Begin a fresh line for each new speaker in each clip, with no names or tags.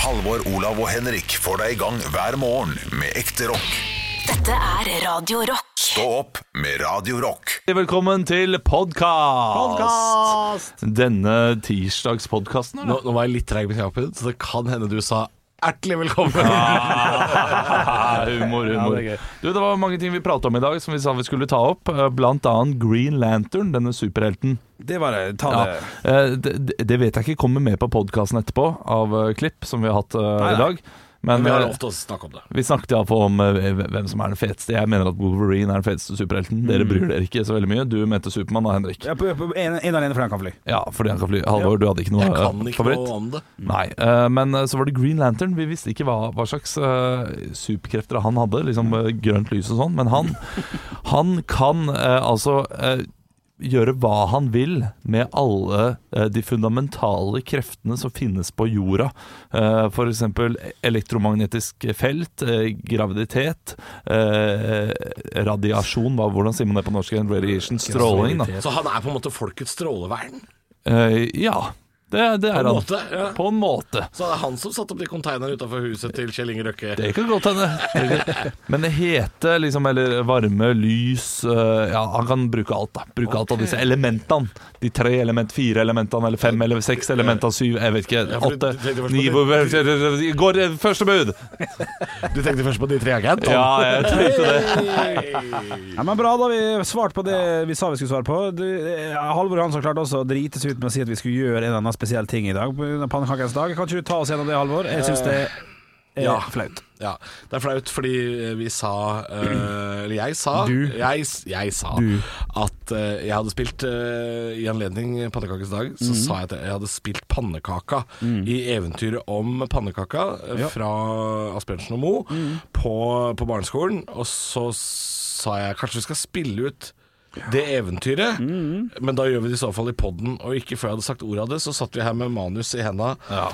Halvor, Olav og Henrik får deg i gang hver morgen med ekte rock.
Dette er Radio Rock.
Stå opp med Radio Rock.
Hjertelig velkommen til podkast!
Podcast!
Denne tirsdagspodkasten,
Nå,
eller?
nå var jeg litt treig med knappen, så det kan hende du sa ertelig velkommen.
Ah, humor, humor.
det er gøy.
du, det var mange ting vi pratet om i dag som vi sa vi skulle ta opp. eh, Blant annet Green Lantern, denne superhelten.
Det var det. Ta
Ja,
det.
eh, det, det- det vet jeg ikke kommer med på podkasten etterpå, av eh, klipp som vi har hatt eh,
nei.
i dag. Men
Vi har
eh,
lov til å snakke om det.
vi snakket iallfall om eh, hvem som er den feteste. Jeg mener at Wolverine er den feteste superhelten.
Mm.
Dere bryr dere ikke så veldig mye. Du mente Supermann da, Henrik.
Ja, på, på, en, en alene for han kan fly.
Ja, fordi han kan fly. Halvor, du hadde ikke noe
Jeg
eh,
kan ikke
favoritt?
noe om det.
Nei, eh, men eh, så var det Green Lantern. Vi visste ikke hva, hva slags eh, superkrefter han hadde, liksom
Mm.
eh, grønt lys og sånn, men han, han kan eh, altså eh, gjøre hva han vil med alle eh, de fundamentale kreftene som finnes på jorda. Eh, for eksempel elektromagnetisk felt, eh, graviditet, eh, radiasjon, hva, hvordan sier man det på norsk? Radiation, stråling, da.
Så han er på en måte folkets strålevern?
Eh, ja, det, det er
På en
han.
måte. Ja.
På en måte.
Så det er han som satte opp de containerne utafor huset til Kjell Inge Røkke.
Det kan godt hende. Men det hete, liksom, eller varme, lys eh, Ja, han kan bruke alt, da. Bruke alt av disse elementene. De tre element, fire elementene, eller fem, eller seks elementene, syv, jeg vet ikke,
Ja, for du-
åtte,
du tenkte først
ni
på
Går eh, første bud!
Du tenkte først på de tre agent?
Ja, jeg tenkte det.
Ja, men Bra, da vi svarte på det vi sa vi skulle svare på. Du, eh, Halvor Hansson klarte også å drite seg ut med å si at vi skulle gjøre en eller annen spesiell ting i dag. På grunn av pannekakens dag. Kan ikke du ta oss gjennom det, Halvor? Jeg syns det er
Ja.
flaut.
Ja, det er flaut fordi vi sa eh, Eller jeg sa
Du.
Jeg, jeg sa
Du.
at eh, jeg hadde spilt eh, I anledning pannekakens dag Så
Mhm.
sa jeg at jeg hadde spilt pannekaka I eventyret om pannekaka eh,
Ja. Mhm.
Fra Asbjørnsen og Mo på, på barneskolen Og så sa jeg Kanskje vi skal spille ut det eventyret Men da gjør vi det i så fall i podden Og ikke før jeg hadde sagt ordet av det Så satt vi her med manus i hendene Ja,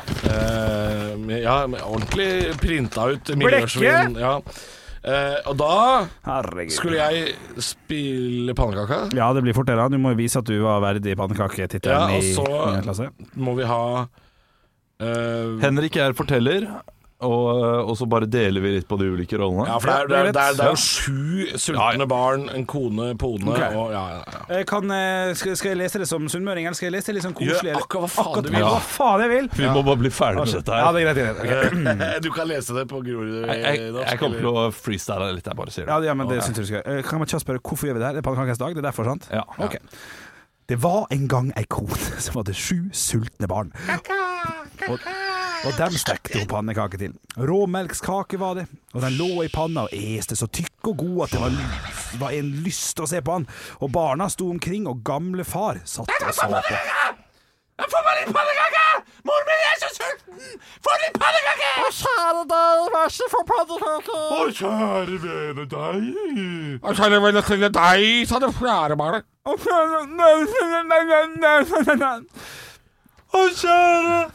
med, ja med ordentlig printa ut miljøsvin ja. Eh, Og da
Herregud.
skulle jeg spille pannekaka
Ja, det blir fort det. da. Du må jo vise at du var
Ja,
verdig pannekaketittelen
og
i
så-
niende klasse.
Må vi ha eh,
Henrik er forteller, og, eh, og så bare deler vi litt på de ulike rollene.
Ja, for det er, det er, det er, det er jo sju
Ja, ja.
sultne barn En kone, pone
Ok.
og, ja, ja, ja.
Eh, Kan, eh, skal, skal jeg lese det som sunnmøring, eller skal jeg lese det litt sånn
Gjør
koselig? eller-
akkurat hva faen du vil.
Hva faen jeg vil!
Vi må bare bli ferdig med dette
Ja,
her.
det er greit. det er greit. Ok.
Eh, Du kan lese det på Grorud
Jeg, jeg, jeg kommer til å freestyle litt, jeg bare sier
Ja,
det.
ja, men det syns jeg du skal. Eh, Kan man kjapt spørre hvorfor gjør vi det her? Det er pannekakens dag, det er derfor, sant?
Ja.
Ok. Det var en gang ei kone som hadde sju sultne barn. Og, og dem stekte hun pannekake til. Råmelkskake var det, og den lå i panna og este så tykk og god at det var, var en lyst å se på han. Og barna sto omkring, og gamle far satt og så på.
Jeg får meg litt pannekake! Mor min er så sulten! Få litt pannekake! Hva kjære deg, vær så for pannekake! Å, kjære vene deg. Å, kjære vene til deg, sa det fjerde barnet.
Å, kjære,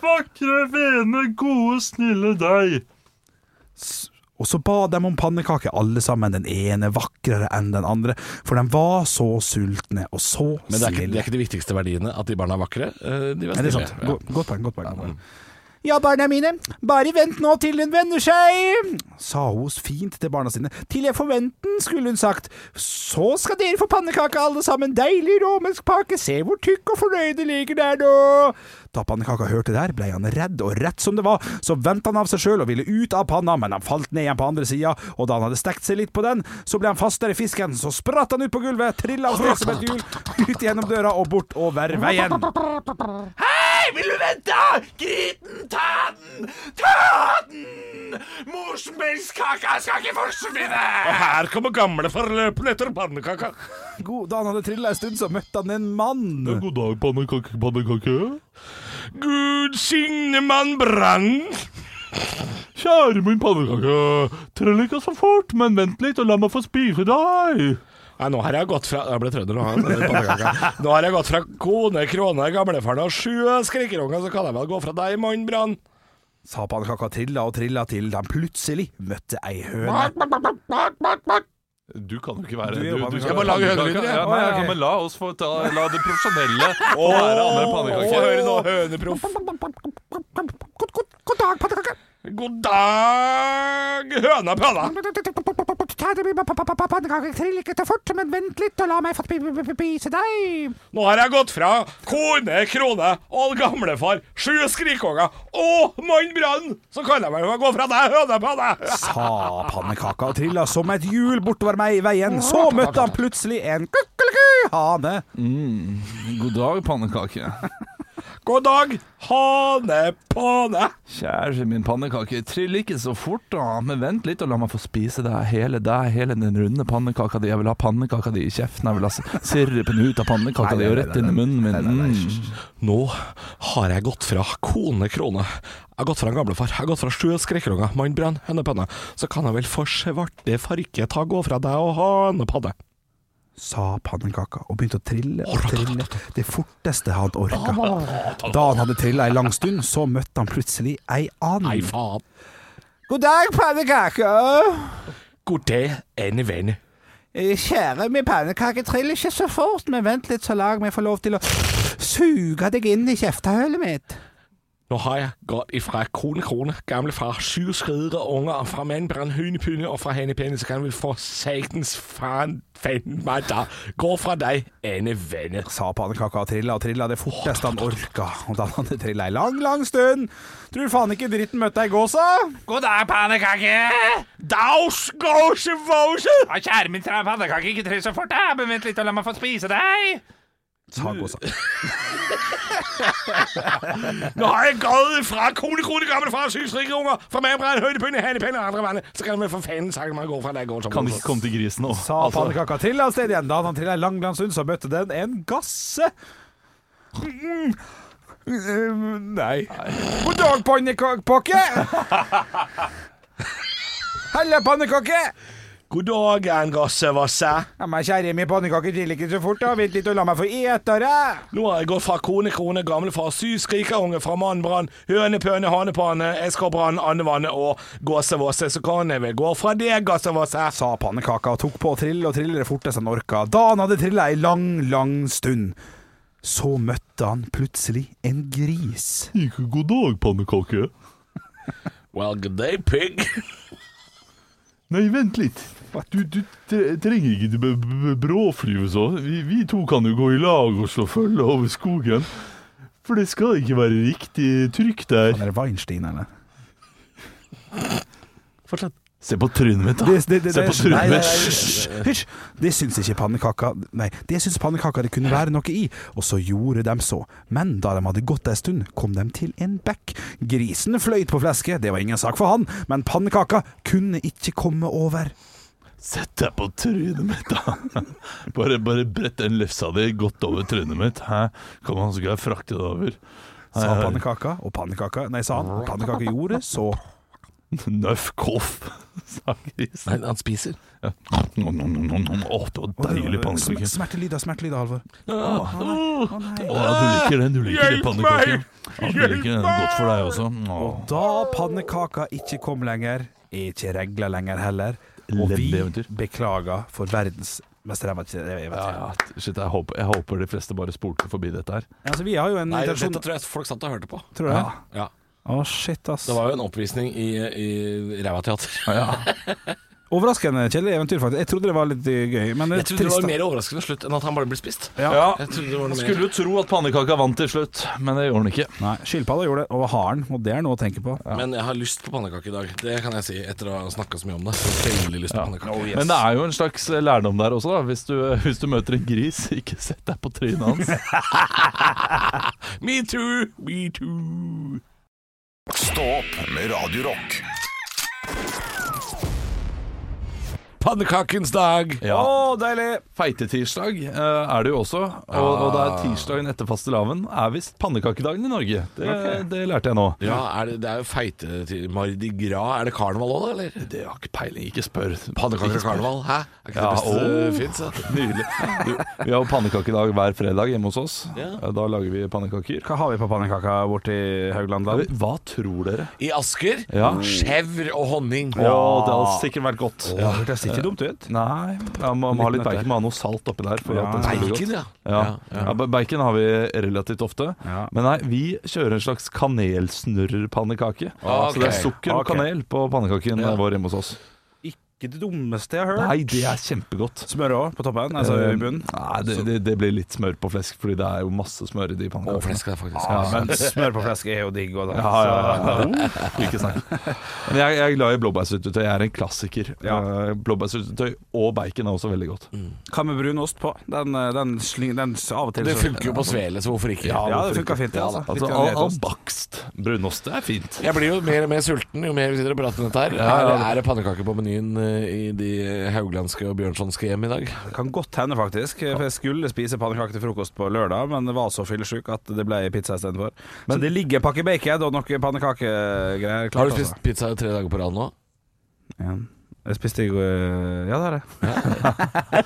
vakre, vene, gode, snille deg.
Og så ba de om pannekake, alle sammen, den ene vakrere enn den andre, for de var så sultne og så
Men det er, ikke, det
snille.
er ikke de viktigste verdiene, at de barna er vakre. Eh, De var
Ja, det er
snille.
sant.
Ja.
Go- Godt poeng, godt poeng. godt poeng. Ja, barna mine, bare vent nå til hun vender seg, sa hun fint til barna sine. Til jeg forventer den, skulle hun sagt. Så skal dere få pannekake, alle sammen. Deilig romersk pake, se hvor tykk og fornøyd det ligger der nå. Da pannekaka hørte det her, ble han redd, og rett som det var, så vendte han av seg sjøl og ville ut av panna, men han falt ned igjen på andre sida, og da han hadde stekt seg litt på den, så ble han fastere i fisken, så spratt han ut på gulvet, trilla av sted som et hjul, ut gjennom døra og bortover veien.
Hei, vil du vente? Griten, ta den! Ta den! Morsmelkskaka skal ikke forsvinne! Og her kommer gamle forløpende etter pannekaka.
God, da han hadde trilla en stund, så møtte han en mann.
God dag, pannekake, pannekake.
Gud signe mann brann.
Kjære min pannekake, trell ikke så fort, men vent litt og la meg få spise deg.
Nei, nå har jeg gått fra Jeg ble trønder nå. jeg ble pannekaka. Nå har jeg gått fra kone, krone, gamlefaren og sju skrikerunger, så kan jeg vel gå fra deg, mann Brann.
Sa pannekaka trilla og trilla til han plutselig møtte ei høne.
Hva
Du kan jo ikke være
Du er jo pannekake.
skal
Jeg
må
være
lage
pannekake.
hønelyder, jeg.
Ja, nei,
Å, ja,
ja,
ok.
men la oss få ta, la det profesjonelle få være andre pannekake.
hører nå, høneproff.
God, god, god dag, pannekake.
God dag, høna pølla!
Pannekaker triller ikke så fort, men vent litt og la meg få spise deg.
Nå har jeg gått fra kone, krone og gamlefar, sju skrikkonger og mann brann! Så kan jeg vel gå fra deg, høne på deg!
Sa pannekaka og trilla som et hjul bortover meg i veien. Så møtte han plutselig en kukkeliku-hane.
God dag, pannekake.
God dag, hanepane.
Kjære min pannekake, trill ikke så fort da, men vent litt og la meg få spise deg hele deg, hele den runde pannekaka di. Jeg vil ha pannekaka di i kjeften, jeg vil ha s- sirupen ut av pannekaka di og rett inn i munnen min. Mm.
Nå har jeg gått fra kone, krone. Jeg har gått fra en gamlefar. Jeg har gått fra sju skrikkonger, mann brann, hønepønne. Så kan jeg vel for svarte farke ta gå fra deg og hanepanne.
Sa pannekaka og begynte å trille og trille det forteste han orka. Da han hadde trilla ei lang stund, så møtte han plutselig ei
Nei,
and.
faen.
God dag, pannekake.
God dag, en venn.
Eh, Kjære min pannekake, trill ikke så fort, men vent litt, så lag meg få lov til å suge deg inn i kjeftehølet mitt.
Nå har jeg gått ifra kone, krone, gamle far, syv skridere unger, og fra mandbrand, hønepynne og fra hanepenne, så kan vi for satans faen fanden meg da gå fra deg, ene venne.
sa pannekaka og trilla og trilla det forteste han orka. Og da han hadde trilla ei lang, lang stund Tror faen ikke dritten møtte ei gåsa.
God dag, pannekake! Daus, gåse, våse!
Kjære min pannekake, ikke trill så fort, da, men vent litt og la meg få spise deg.
Sa gåsa.
Nå har jeg gått fra kone, krone, gamle far, syv skridere unger, fra mandbrand, hønepynne, hanepenne og andre vann, så kan vi for fanden sagt meg gå fra deg, gåse,
Kan du ikke komme til grisen nå?
Sa pannekaka og trilla av sted igjen. Da han hadde trilla ei lang, lang stund, så møtte den en gasse. Mm. Mm, Nei. God dag, pannekakepakke. Halla, pannekake.
God dag, en gåse, våse.
Ja, men kjære min pannekake, trill ikke så fort, da. Vent litt og la meg få ete det.
Nå har jeg gått fra kone, krone, gamlefar, syv skrikerunge fra mannbrann, hønepøne, hanepane, eskerbrann, andevannet og gåsevåse, så kan jeg vel gå fra det, gåsevåse.
sa pannekaka og tok på å trille og trille det forteste han orka. Da han hadde trilla ei lang, lang stund, så møtte han plutselig en gris.
Ikke god dag, pannekake.
Well, good day, pig.
Nei, vent litt. Du, trenger ikke bråflyve så. Vi, to kan jo gå i lag og slå følge over skogen. For det skal ikke være riktig trykk der.
Er det Weinstein, eller?
Fortsett.
Se på trynet mitt, da.
Det, det, det,
Ah, Se på
det- nei,
trynet
nei, nei,
mitt.
hysj, hysj. Det syns ikke pannekaka Nei, det syns pannekaka det kunne være noe i, og så gjorde de så. Men da de hadde gått ei stund, kom de til en bekk. Grisen fløyt på flesket, det var ingen sak for han, men pannekaka kunne ikke komme over.
Sett deg på trynet mitt, da. Bare, bare brett den lefsa di godt over trynet mitt. Hæ? Kom an, så skal jeg frakte det over.
Sa
Hei, hei.
pannekaka, og pannekaka Nei, sa han. og Pannekaka gjorde så
Nøff koff, sa grisen.
Nei, han spiser.
Ja. Nom, nom, nom, nom, nom. Å, det var deilig pannekake.
Smertelyder, smertelyder, Halvor.
Å, du liker den. Du liker den
Hjelp
pannekaken.
meg!
Ja, du liker den godt for deg også. Å.
Da pannekaka ikke kom lenger, er ikke regla lenger heller. Og vi
Lebbeeventyr.
beklager for verdens mest ræva eventyr.
Ja, ja, shit, jeg håper, jeg håper de fleste bare spolte forbi dette her.
Altså, vi har jo en
Nei, dette
intensjon
tror jeg folk satt og hørte på.
Tror du det?
Ja.
Å, shit, ass.
Det var jo en oppvisning i, i Rævateater.
Overraskende kjedelig eventyr, faktisk. Jeg trodde det var litt eh, gøy, men
Jeg trodde det var
da.
mer overraskende slutt enn at han bare ble spist.
Ja,
Jeg trodde det var noe mer.
Skulle jo tro at pannekaka vant til slutt, men det gjorde den ikke.
Nei, Skilpadda gjorde det, og haren, og det er noe å tenke på.
Men jeg har lyst på pannekake i dag. Det kan jeg si etter å ha snakka så mye om det. Så jeg har Veldig lyst på pannekake.
Men det er jo en slags lærdom der også, da. Hvis du, hvis du møter en gris, ikke sett deg på trynet hans.
Me too, me too.
Stå opp med Radio Rock.
Pannekakens dag.
Ja.
deilig!
Feitetirsdag eh, er det jo også, og, og det er tirsdagen etter fastelavn er visst pannekakedagen i Norge. Det, det lærte jeg nå.
Ja, er det, det er jo feite til Mardi Gras. Er det karneval òg, da? eller?
Det har ikke peiling, ikke spør.
Pannekaker og karneval, hæ? Er ikke
Ja,
det beste
åh.
det fins? da?
Nydelig. Du, vi har jo pannekakedag hver fredag hjemme hos oss. Eh, Da lager vi pannekaker.
Hva har vi på pannekaka borti Haugland? da?
Hva tror dere?
I Asker
Ja.
skjevr og honning.
Å, det hadde sikkert vært godt.
Å, det hørtes ser ikke dumt ut.
Nei, ja, man må ha litt
nøtter.
bacon. Man må ha noe salt oppi der. For
Ja.
at den skal bli godt.
ja.
Ja. Ja, ba- bacon har vi relativt ofte.
Ja.
Men nei, vi kjører en slags kanelsnurrpannekake.
Ok.
Så det er sukker og
Ah, Ok.
kanel på pannekaken
Ja.
vår hjemme hos oss.
Ikke det dummeste jeg har hørt.
Nei, det er kjempegodt.
Smør òg, på toppen, altså
Eh,
i bunnen.
Nei, det, det, det blir litt smør på flesk, fordi det er jo masse smør i de
Og
pannekakene.
flesk, faktisk.
Ja, men,
Men smør på flesk er jo digg. Og da,
ja, ja, ja, ja.
Oh.
Ikke snakk. Men jeg, jeg er glad i blåbærsyltetøy. Jeg er en klassiker.
Ja.
Eh, Blåbærsyltetøy og bacon er også veldig godt.
Så Hva med brunost på? Den, eh, den, slyng, den s- av og til
Det
så-
funker jo på svele, så hvorfor ikke?
Ja, det funka fint.
Ja,
altså.
Altså,
Litt
al
kaneltoast.
Albakst brunost, det er fint.
Jeg blir jo mer og mer sulten jo mer vi sitter og prater om dette her.
ja.
Er- Er det pannekaker på menyen eh, i de hauglandske og bjørnsonske hjem i dag?
Det kan godt hende, faktisk. For jeg skulle spise pannekaker til frokost på lørdag, men var så fyllesyk at det ble pizza istedenfor. Men det ligger en pakke bacon og noen pannekakegreier
Har
klart.
du spist pizza i tre dager på rad nå?
Altså. Ja. Jeg spiste i går Ja, det har jeg.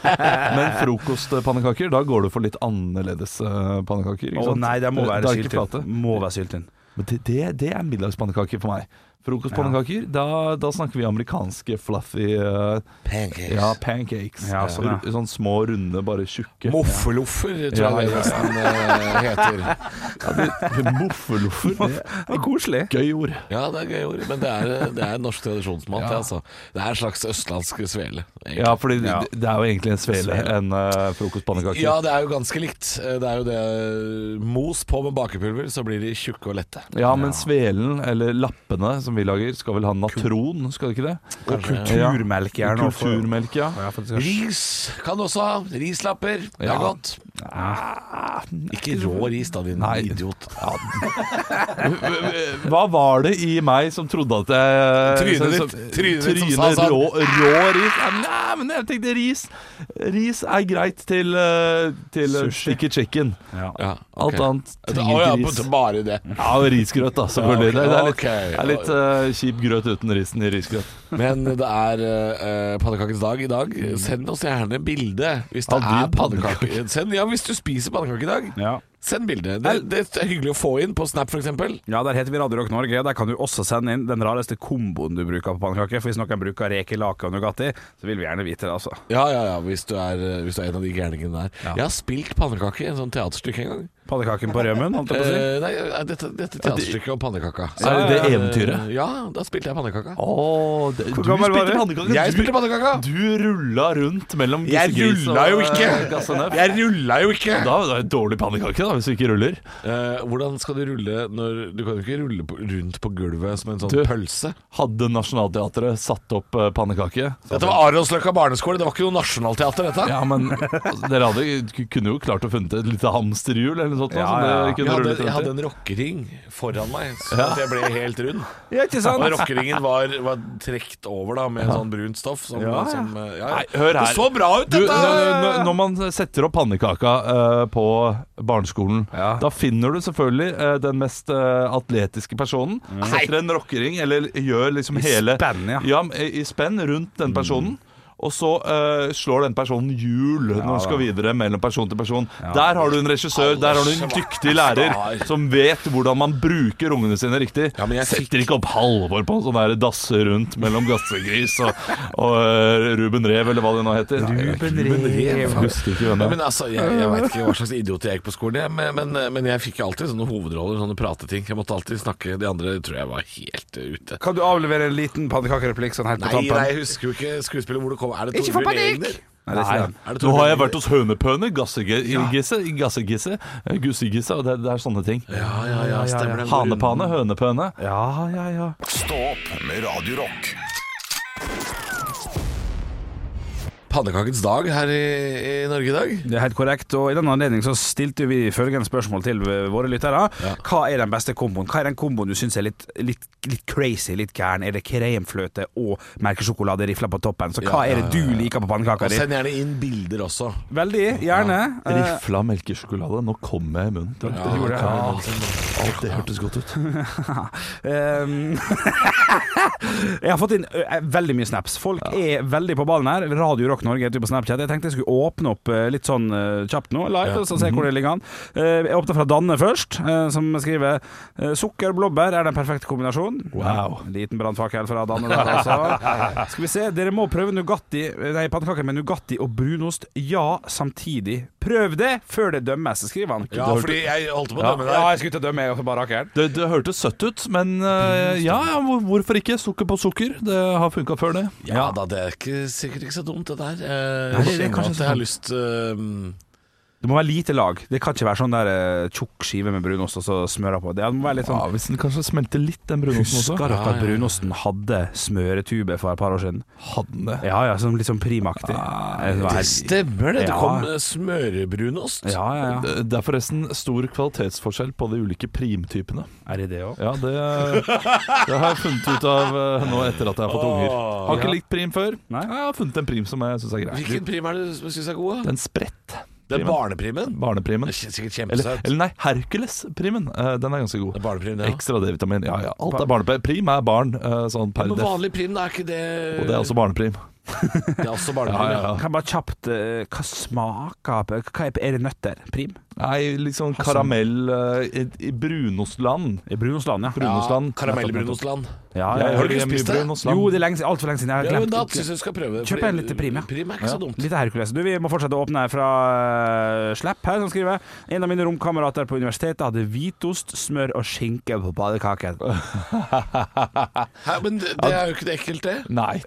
Men frokostpannekaker, da går du for litt annerledes eh, pannekaker. ikke
Å
sant?
nei, det må være
det er ikke
syltynn.
flate.
Må være syltynn.
Men det, det, det er middagspannekaker for meg. Frokostpannekaker, da, da snakker vi amerikanske fluffy eh,
Pancakes.
ja, pancakes.
Ja, sånn, ja.
R- Sånn små, runde, bare tjukke.
Moffeloffer,
Ja,
tror jeg det
ja.
nesten eh, heter.
Moffeloffer. Det er
Det var koselig.
et gøy ord.
Ja, det er gøy ord, men det er, det er norsk tradisjonsmat, det, altså. Det er en slags østlandsk svele. egentlig.
Ja, fordi
Ja.
Det, det er jo egentlig en svele, en eh, frokostpannekake.
Ja, det er jo ganske likt. Eh, Det er jo det eh, Mos på med bakepulver, så blir de tjukke og lette.
Ja, men svelen, eller lappene som vi lager, skal vel ha natron, skal det ikke det?
Og kulturmelk
Ja.
gjerne. også.
Kulturmelk, ja.
Ja, for det skal-
Ris kan du også ha. Rislapper. Det
Ja. Ah,
er godt. Ikke rå ris, da, din
Nei.
idiot.
Hva var det i meg som trodde at jeg liksom,
Trynet
som-
ditt. Trynet ditt som sa
trynet
sånn.
rå, rå ris. Ja, Nei, men jeg tenkte ris Ris er greit til, eh, til eh,
Sushi.
ikke chicken.
Ja.
Ja,
Alt
ok.
annet
Å ja,
trenger ikke
på-
ris.
bare det.
Ja, og risgrøt, da, selvfølgelig.
Ja, ok.
Det er litt,
Ok.
det er litt eh, kjip grøt uten risen i risgrøt.
Men det er uh, pannekakens dag i dag. Send oss gjerne bilde hvis det
Av din
er pannekaker. Send, ja, hvis du spiser pannekake i dag,
Ja.
send bilde. Det, det er hyggelig å få inn på Snap, f.eks.
Ja, Der heter vi Radio Rock Norge. Der kan du også sende inn den rareste komboen du bruker på pannekaker. For hvis noen bruker reker, lake og Nugatti, så vil vi gjerne vite det, altså.
Ja, ja, ja, hvis du er, eh, hvis du er en av de gærningene der. Jeg har spilt pannekake i en sånn teaterstykke en gang.
Pannekaken på rømmen, holdt jeg på å si.
Eh, nei, dette, dette teaterstykket om pannekaka.
Så er det det
Ja, ja, ja.
eventyret?
Ja, da spilte jeg pannekaka.
Åh, det, du
gammel var
spilte
du?
pannekake.
Jeg
Du-
spilte pannekaka!
Du rulla rundt mellom
Jeg
Gusegris
rulla
og,
jo ikke.
eh, Gassenøff.
Jeg rulla jo ikke!
Da er det en dårlig pannekake, da, hvis du ikke ruller.
Eh, hvordan skal du rulle når Du kan jo ikke rulle på, rundt på gulvet som en sånn
Du-
pølse.
Hadde Nationaltheatret satt opp eh, pannekake
Dette var Aronsløkka barneskole, det var ikke noe nasjonalteater, dette.
Ja, men altså, dere hadde, k- kunne jo klart å funnet et lite hamsterhjul eller noe sånt. da, som
ja, ja.
dere
Jeg
kunne
hadde,
rullet
jeg
rundt
hadde
i.
en rockering foran meg, så at jeg ble helt rund.
Ja, ikke sant?
Og rockeringen var, var trekt over da med sånn brunt stoff. Som,
Ja, ja.
som, eh, ja.
Nei, hør her.
Det så bra ut,
Du,
dette!
når- når man setter opp pannekaka eh, på barneskolen,
Ja.
da finner du selvfølgelig eh, den mest eh, atletiske personen. Setter en rockering, eller gjør liksom hele
spenn, ja. Mm.
I spenn rundt den personen. Og så eh, slår den personen hjul når han skal videre mellom person til person. Der har du en regissør, der har du en dyktig lærer som vet hvordan man bruker ungene sine riktig.
Ja, men jeg fikk-
Setter ikke opp Halvor på en sånn der dasse rundt mellom Gassegris og, og eh, Ruben Rev, eller hva det nå heter. Ruben Rev. Husker ikke hvem
Ja,
det er.
men altså, jeg, jeg veit ikke hva slags idiot jeg gikk på skolen, jeg, men, men, men jeg fikk jo alltid sånne hovedroller, sånne prateting. Jeg måtte alltid snakke. De andre tror jeg var helt eh, ute.
Kan du avlevere en liten pannekakereplikk sånn helt på
Nei,
tampen?
nei, jeg husker jo ikke skuespillet hvor det kom. Er det
Ikke få
Torbjørn Egner?
panikk! Nei, det er ikke det.
Er
Nå
det Torbjørn
har jeg
Egner?
vært hos hønepøne, gassegisse, gassegisse, gussegisse, og det, det er sånne ting.
Ja, ja, ja, stemmer det.
Hanepane, hønepøne.
Ja, ja, ja.
Stå opp med Radio Rock.
Pannekakens dag her i, i Norge i dag.
Det er helt korrekt. Og i den anledning så stilte vi følgende spørsmål til våre lyttere. Hva er den beste komboen? Hva er den komboen du syns er litt, litt, litt crazy, litt gæren? Er det kremfløte og merkesjokolade rifla på toppen? Så hva
Ja,
er det du liker på pannekaka
Og
di?
send gjerne inn bilder også.
Veldig gjerne. Eh,
Rifla melkesjokolade. Nå kom jeg i munnen. Det,
gjorde Ah. det.
Alt det hørtes godt ut.
Um, eh, jeg har fått inn ø, veldig mye snaps. Folk er veldig på ballen her. Radio Rock Norge heter vi på Snapchat. Jeg tenkte jeg skulle åpne opp eh, litt sånn eh, kjapt nå, live, og så se hvor det ligger an. Eh, Jeg åpner fra Danne først, eh, som skriver eh, Sukker og blåbær er den perfekte kombinasjonen.
Wow.
En Liten brannfakkel fra Danne der også. Skal vi se, dere må prøve Nugatti eh, Nei, pannekaker med Nugatti og brunost. Ja, samtidig. Prøv det før det dømmes, skriver han.
Ja, fordi jeg holdt på å
Ja,
dømme
ja,
deg.
jeg skulle ut og dømme, jeg, bare rakeren.
Det, det hørtes søtt ut, men eh, ja, ja, hvor- hvorfor ikke? Sukker på sukker. Det har funka før, det.
Ja, da, det er ikke, sikkert ikke så dumt, det der. Eh, Jeg
Nei, det- det er
kjenner
kanskje
at jeg har lyst eh,
Det må være lite lag. Det kan ikke være sånn der eh, tjukk skive med brunost og så smøra på. Det må være litt sånn
Ja, hvis den kanskje smelter litt, den brunosten også.
Husker dere at brunosten hadde smøretube for et par år siden?
Hadde den det?
Ja, ja, sånn litt sånn primaktig. Eh, Det var-
Det stemmer, det. Det
Ja.
kom eh, smørebrunost.
Ja, ja, ja.
Det det er forresten stor kvalitetsforskjell på de ulike primtypene.
Er det det òg?
Ja, det, det har jeg funnet ut av eh, nå etter at jeg har fått unger. Har ikke likt prim før.
Nei.
Jeg har funnet en prim som jeg syns er grei.
Hvilken prim er det du syns er god? da?
Den spredt.
Det er
primen.
barneprimen.
Barneprimen.
Det er sikkert
Eller,
kjempesøt.
eller nei, Hercules-primen. Eh, Den er ganske
Det
god.
er barneprim, det. ja.
Ekstra D-vitamin. Ja, ja. Alt er barneprim. Prim er barn, eh, sånn per
Men
def.
vanlig prim, da er ikke det
Og det er også barneprim.
det er også
Ja,
barneprim.
ja, ja.
Kan jeg bare kjapt eh, Hva smaker på- hva er, er det nøtter? Prim?
Nei, litt sånn karamell eh, i, i brunostland.
I Brunostland, ja.
Brunostland.
Karamellbrunostland.
Jeg
ja, ja,
Har
har
du ikke
ikke
spist
spist
det?
ja. Jo, det er lenge, altfor lenge siden. Jeg
Ja,
har
men da
glemt
syns jeg du skal prøve.
Kjøp
fordi
en liten prim, ja.
Prim er ikke så dumt.
Litt av Hercules. Du, vi må fortsette å åpne her fra eh, Slapp her, som skriver En av mine romkamerater på universitetet hadde hvitost, smør og skinke på badekaken.
Hæ, men det, det er jo ikke det ekkelt, det.
Nei.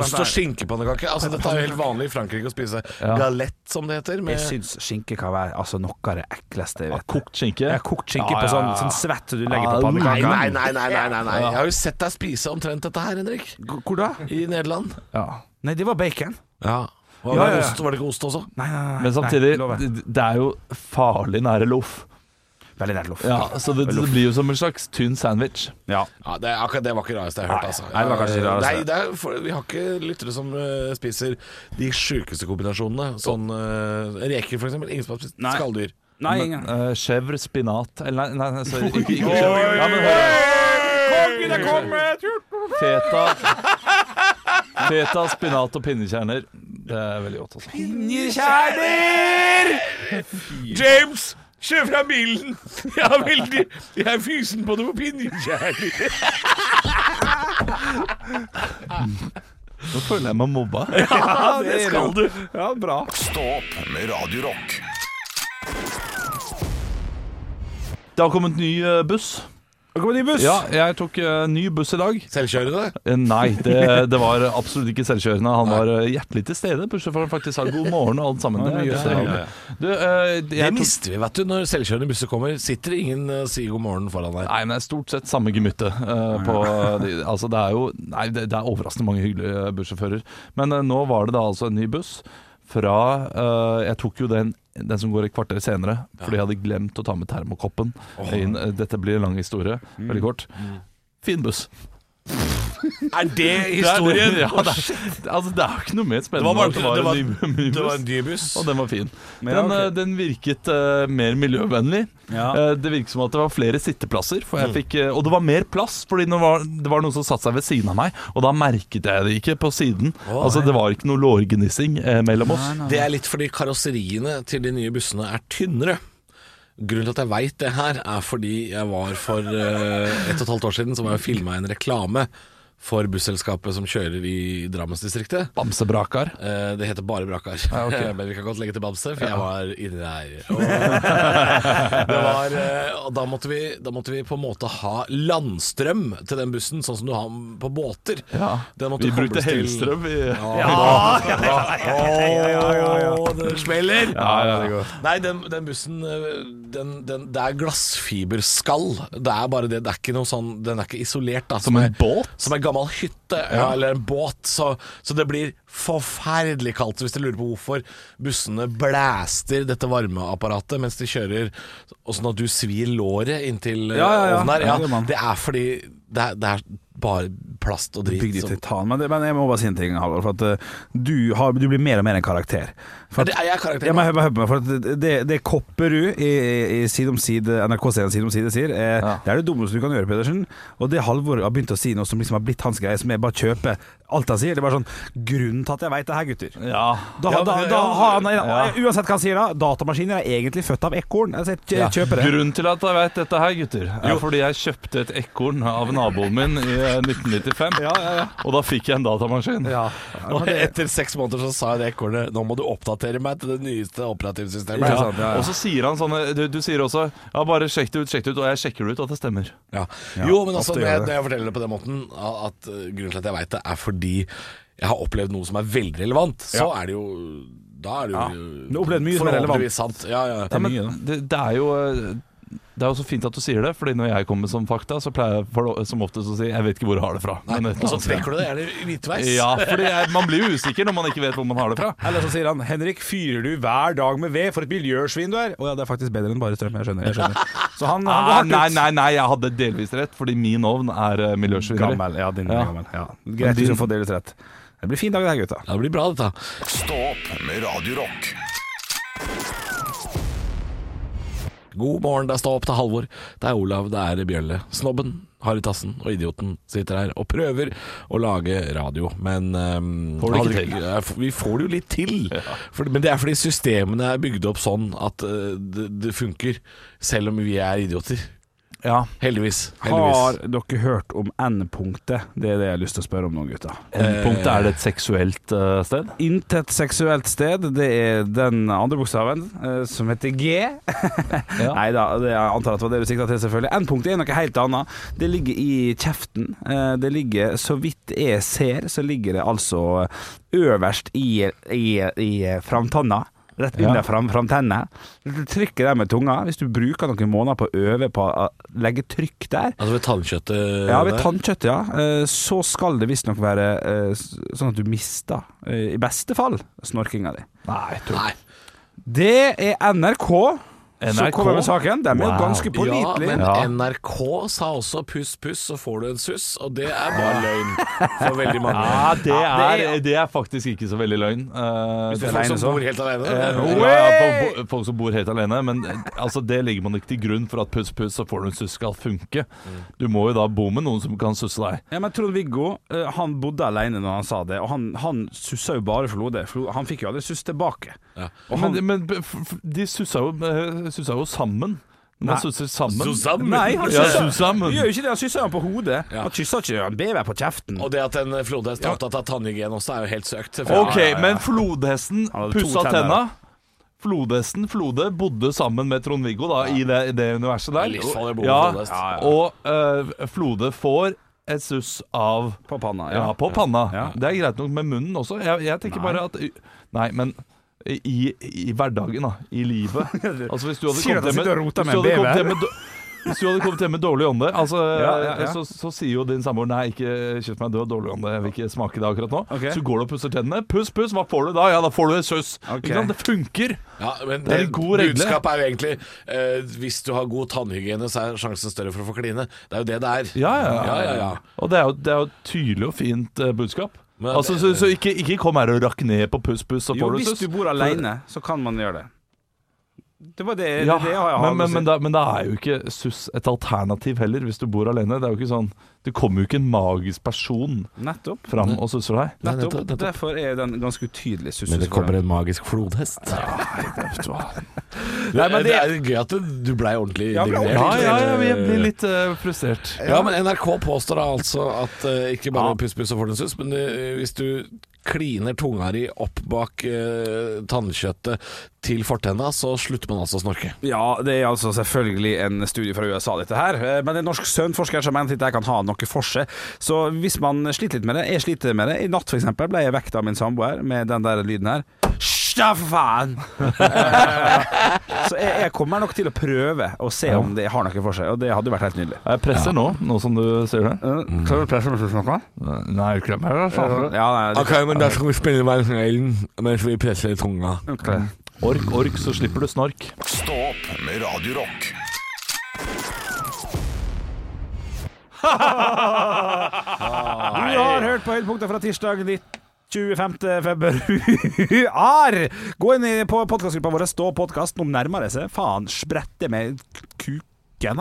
Ost og skinkepannekake. Altså, dette er jo helt vanlig i Frankrike å spise galett, som det heter.
Jeg
Med
syns skinke kan være altså, noe av det ekleste jeg vet.
Kokt skinke.
Jeg har kokt skinke
Ja,
på sånn,
ja, ja.
sånn svett som du legger
Ja,
på
nei,
pannekaka.
nei, nei, nei, nei, nei, nei. Jeg har jo sett deg spise omtrent dette her, Henrik.
Hvor da?
I Nederland.
Ja.
Nei, det var bacon.
Ja. Var
Ja,
det,
ja, ja.
Ost, var det ikke ost også?
Nei, nei, nei,
Men samtidig,
nei, lover.
det- det er jo farlig nære loff.
Veldig nært loff.
Ja, så det, det blir jo som en slags tynn sandwich.
Ja.
Ja, det, akkurat det var ikke det rareste jeg har hørt. Altså.
nei, det var kanskje det rareste.
Nei, det er, for, vi har ikke lyttere som eh, spiser de sjukeste kombinasjonene. Sånn uh, reker, for eksempel. Ingen som har spist
Nei.
skalldyr.
Nei, ingen.
Uh, Chèvre spinat Eller nei, nei, nei sorry, ikke, ikke
Oi!
chèvre. Ja, men hør,
Kongen er kommet!
feta Feta, spinat og pinnekjerner. Det er veldig godt, altså.
Kjæler!
James! Kjør fra bilen! Jeg er veldig Jeg er fysen på noe pinnekjæler.
Nå føler jeg meg mobba.
Ja, det skal du. Ja, bra.
Stå opp med Radio Rock.
Det har kommet ny eh, buss.
Velkommen i buss.
Ja, jeg tok eh, ny buss i dag.
Selvkjørende?
Eh, Nei, det, det var absolutt ikke selvkjørende. Han var eh, hjertelig til stede. Bussjåføren faktisk sa god morgen og alt sammen. Det,
Ja,
er
ja,
hyggelig. Du, eh,
Det
jeg tok
mister vi, vet du. Når selvkjørende busser kommer, sitter det ingen eh, og sier god morgen foran deg.
Nei, men det er stort sett samme gemytte. eh, på, de, altså det er jo Nei, det, det er overraskende mange hyggelige eh, bussjåfører. Men eh, nå var det da altså en ny buss fra eh, Jeg tok jo den, den som går et kvarter senere, fordi jeg hadde glemt å ta med termokoppen inn. Eh, Dette blir en lang historie. Veldig kort. Fin buss.
Er det
Det er, ja, det, er, altså, det er jo ikke noe mer
Det var
spennende enn
bare-
at det var,
det var-
en ny, ny
Det var
buss.
en dyr buss.
Og den var fin. Den,
Ja, ok.
eh, den virket eh, mer miljøvennlig.
Ja.
Eh, det virket som at det var flere sitteplasser, for jeg fikk, eh, og det var mer plass. Fordi det var, det var noen som satte seg ved siden av meg, og da merket jeg det ikke på siden. altså Det var ikke noe lårgnissing eh, mellom oss.
Det er litt fordi karosseriene til de nye bussene er tynnere. Grunnen til at jeg veit det her, er fordi jeg var for eh, ett og et halvt år siden Så var jeg og filma en reklame for busselskapet som kjører i Drammensdistriktet.
Bamsebrakar.
Eh, det heter bare Brakar. Men vi kan godt legge til Bamse, for jeg var inni der. Og, det var, eh, og da, måtte vi, da måtte vi på en måte ha landstrøm til den bussen, sånn som du har på båter.
Ja.
Den måtte
Vi brukte
kobles til-
Hellstrøm. Vi, ja.
Åh, det smeller!
ja, det
Nei, den, den bussen øh, den, den, Det er glassfiberskall. Det er bare det. Det er ikke noe sånn Den er ikke isolert, da.
Som en
er-
båt?
Som en gammel hytte, ja. eller en båt. Så, så det blir forferdelig kaldt. Så hvis dere lurer på hvorfor bussene blæster dette varmeapparatet mens de kjører, og sånn at du svir låret inntil øh,
Ja, ja, ja.
ovnen her,
Ja, det gjør
ja,
man.
det er fordi det er, det er bare plast og
Bygd
drit.
i
Som,
titan. Men, det- men jeg må bare si en ting, Halvor. For at eh, du, har, du blir mer og mer en karakter. For
Ja,
at,
det er jeg karakter nå.
Ja, men hør på- hør på meg, for at det, det Kopperud i, i, i side om side, NRK-serien Side om side sier, eh,
Ja.
det er det dummeste du kan gjøre, Pedersen. Og det Halvor har begynt å si nå, som liksom har blitt hans greie, som jeg bare kjøper alt han sier. Det er bare sånn Grunnen til at jeg veit det her, gutter.
Ja.
Da,
Ja,
da,
ja,
da
ja.
har han,
Ja.
Uansett hva han sier da, datamaskiner er egentlig født av ekorn. Altså, jeg kjø- kjøper det.
Grunnen til at jeg vet dette her, gutter, er fordi jeg kjøpte et ekorn av naboen min i eh, 1995.
Ja, ja, ja.
Og da fikk jeg en datamaskin.
Ja.
og etter seks måneder så sa jeg det ekornet Nå må du oppdatere meg til det nyeste operativsystemet.
Ikke
Ja.
Ja.
sant, ja, ja.
Og så sier han sånne du, du sier også Ja, bare sjekk det ut, sjekk det ut. Og jeg sjekker det ut, og det stemmer.
Ja. Jo, men altså,
ofte gjør
når jeg,
det.
når jeg forteller det på den måten, a- at eh, grunnen til at jeg veit det, er fordi jeg har opplevd noe som er veldig relevant. Så er det jo Da er det jo
Du har opplevd mye som er relevant.
forhåpentligvis sant. Ja, ja.
Det er
Men
mye, da.
det, det er jo eh, det er jo så fint at du sier det, Fordi når jeg kommer med som fakta, så pleier jeg for, som oftest å si 'jeg vet ikke hvor jeg har det fra'. Men et eller
Og så
annet sted.
trekker du det gjerne hvitveis.
Ja, fordi jeg, man blir jo usikker når man ikke vet hvor man har det fra.
Eller så sier han Henrik, fyrer du hver dag med ved for et miljøsvin du er? Å ja, det er faktisk bedre enn bare strøm. Jeg skjønner. Jeg skjønner. Så han, han
Ah,
går
nei,
hardt ut.
nei, nei, jeg hadde delvis rett, fordi min ovn er eh, miljøsvineri.
Gammel. Ja, din
Ja.
er gammel. Ja. Greit,
din-
du skal få delvis rett. Det blir fin dag, det her, gutta.
Ja, Det blir bra, dette.
Stå opp med Radio Rock.
God morgen, det er Stå opp til Halvor. Det er Olav, det er Bjølle. Snobben, Haritassen og idioten sitter her og prøver å lage radio, men ehm,
Får det ikke
hadde-
til.
Ja, f- Vi får det jo litt til. For, men det er fordi systemene er bygd opp sånn at eh, det, det funker, selv om vi er idioter.
Ja.
Heldigvis.
Har
Heldigvis.
dere hørt om N-punktet? Det er det jeg har lyst til å spørre om nå, gutta.
Eh,
Punktet er det et seksuelt eh, sted?
Intet seksuelt sted. Det er den andre bokstaven, eh, som heter G.
Ja.
Nei da, det jeg antar at det var det du sikta til, selvfølgelig. N-punktet er noe helt annet. Det ligger i kjeften. Eh, Det ligger, så vidt jeg ser, så ligger det altså øverst i, i, i framtanna. Rett
Ja.
under fram, framtenna. Du trykker der med tunga. Hvis du bruker noen måneder på å øve på å legge trykk der
Altså ved tannkjøttet
ja, ved
der.
tannkjøttet, ja. eh, Så skal det visstnok være eh, s- sånn at du mister, eh, i beste fall, snorkinga di.
Nei,
Nei.
Det er NRK, som
NRK?
kommer med saken. De er jo
Wow.
ganske
Ja,
pålitelige.
men
Ja.
NRK sa også 'puss, puss, så får du en suss', og det er bare løgn for veldig mange.
Ja, Ah, det
Ja, det
er, det er faktisk ikke så veldig løgn. Eh,
Hvis det
det-
er folk
alene
som
så.
bor helt alene.
Eh,
det er-
ja, ja, folk, folk som bor helt alene, men eh, altså, det legger man ikke til grunn for at puss, puss, så får du en suss skal funke. Du må jo da bo med noen som kan susse deg.
Ja, men Trond-Viggo eh, han bodde alene når han sa det, og han, han sussa jo bare Flode. Flo- Han fikk jo aldri suss tilbake. Og han,
Men, men f- f- de sussa jo, eh, sussa jo sammen. Man
Nei.
susser sammen.
Susanne.
nei, han
Ja,
sussa
sammen.
gjør jo ikke det, han sussa jo på hodet. Han kyssa ikke en bever på kjeften.
Og det at en flode er opptatt av tannhygiene også, er jo helt søkt. selvfølgelig.
Ok, men flodhesten
Han hadde to
pussa
tenner,
tenna. Flodhesten Flode bodde sammen med Trond-Viggo da i det, i det universet der.
Det er livsfarlig å bo med flodhest.
ja,
Ja, ja.
og eh, Flode får et suss av
På panna.
Ja, på panna.
Ja.
Det er greit nok med munnen også. Jeg, jeg tenker bare at Nei, men i, i hverdagen, da. I livet. Altså hvis du hadde
Sier du at
kommet hjem med,
jeg sitter og roter
hvis du
med en
hadde kommet
bever?
hjem med dår- hvis du hadde kommet hjem med dårlig ånde, altså,
Ja, ja, ja.
Så, så sier jo din samboer Nei, ikke kjeft meg, du har dårlig ånde, jeg vil ikke smake det akkurat nå.
Ok.
Så går du og pusser tennene. Puss, puss, hva får du da? Ja, da får du et suss.
Ok.
Ikke sant? Det funker!
Ja, men
Det er en god regle.
budskapet er jo egentlig eh, hvis du har god tannhygiene, så er sjansen større for å få kline. Det er jo det det er.
Ja, ja,
ja, ja, ja.
Og det er jo, det er jo et tydelig og fint eh, budskap.
Men- eh,
altså, så så ikke, ikke kom her og rakk ned på puss, puss, så
Jo,
får du
hvis
suss.
du bor alene, så kan man gjøre det. Det var det, det,
Ja,
det har jeg
men,
har å
men,
si.
men, da, men da er jo ikke SUS et alternativ heller, hvis du bor alene. Det er jo ikke sånn Du kommer jo ikke en magisk person
Nettopp.
fram og susser deg.
Nei,
Nettopp.
nettopp, nettopp.
Derfor er den ganske utydelig. suss-
Men det kommer en magisk flodhest. Nei, men det, er gøy at du blei ordentlig
Ja, ble
indignert.
Ja,
ordentlig
ja, ja, jeg blir litt eh, frustrert.
Ja, men NRK påstår da altså at eh, ikke bare puss, puss og får den suss, men eh, hvis du kliner tunga di opp bak eh, tannkjøttet til fortenna, så slutter man altså å snorke.
Ja, det er altså selvfølgelig en studie fra USA dette her, eh, men en norsk søvnforsker som mener at dette kan ha noe for seg. Så hvis man sliter litt med det, jeg sliter med det. I natt for eksempel ble jeg vekt av min samboer med den der lyden her. Hysj da, for faen! Eh, Så jeg, jeg kommer nok til å prøve å se om det har noe for seg, og det hadde jo vært helt nydelig.
Jeg presser nå, nå som du sier det.
Eh, Klarer du å presse med noe?
Nei, klem her, da.
Ja, nei, det,
men da skal vi spille Verdensregelen mens vi presser tunga.
Ok.
Ork, ork, så slipper du snork.
Stå opp med Radio Rock.
Du
Du har hørt på høydepunktet fra tirsdag 19. 25. februar! Gå inn i- på podkastgruppa vår, stå podkast, noen nærmer det seg. Faen, sprette med kuken,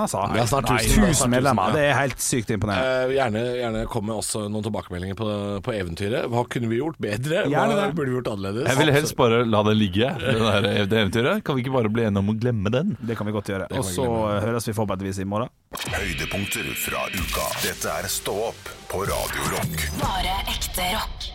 altså.
Vi har snart
Nei,
tusen. Snart tusen,
medlemmer.
ja.
Det er helt sykt imponerende.
Eh, gjerne, gjerne kom med også noen tilbakemeldinger på, på eventyret. Hva kunne vi gjort bedre? Hva
Gjerne det.
burde vi gjort annerledes?
Jeg ville helst bare la det ligge, det der det eventyret. Kan vi ikke bare bli enige om å glemme den?
Det kan vi godt gjøre.
kan
Og
vi
så høres vi forhåpentligvis i morgen.
Høydepunkter fra uka. Dette er Stå opp på Radio Rock.
Bare ekte rock.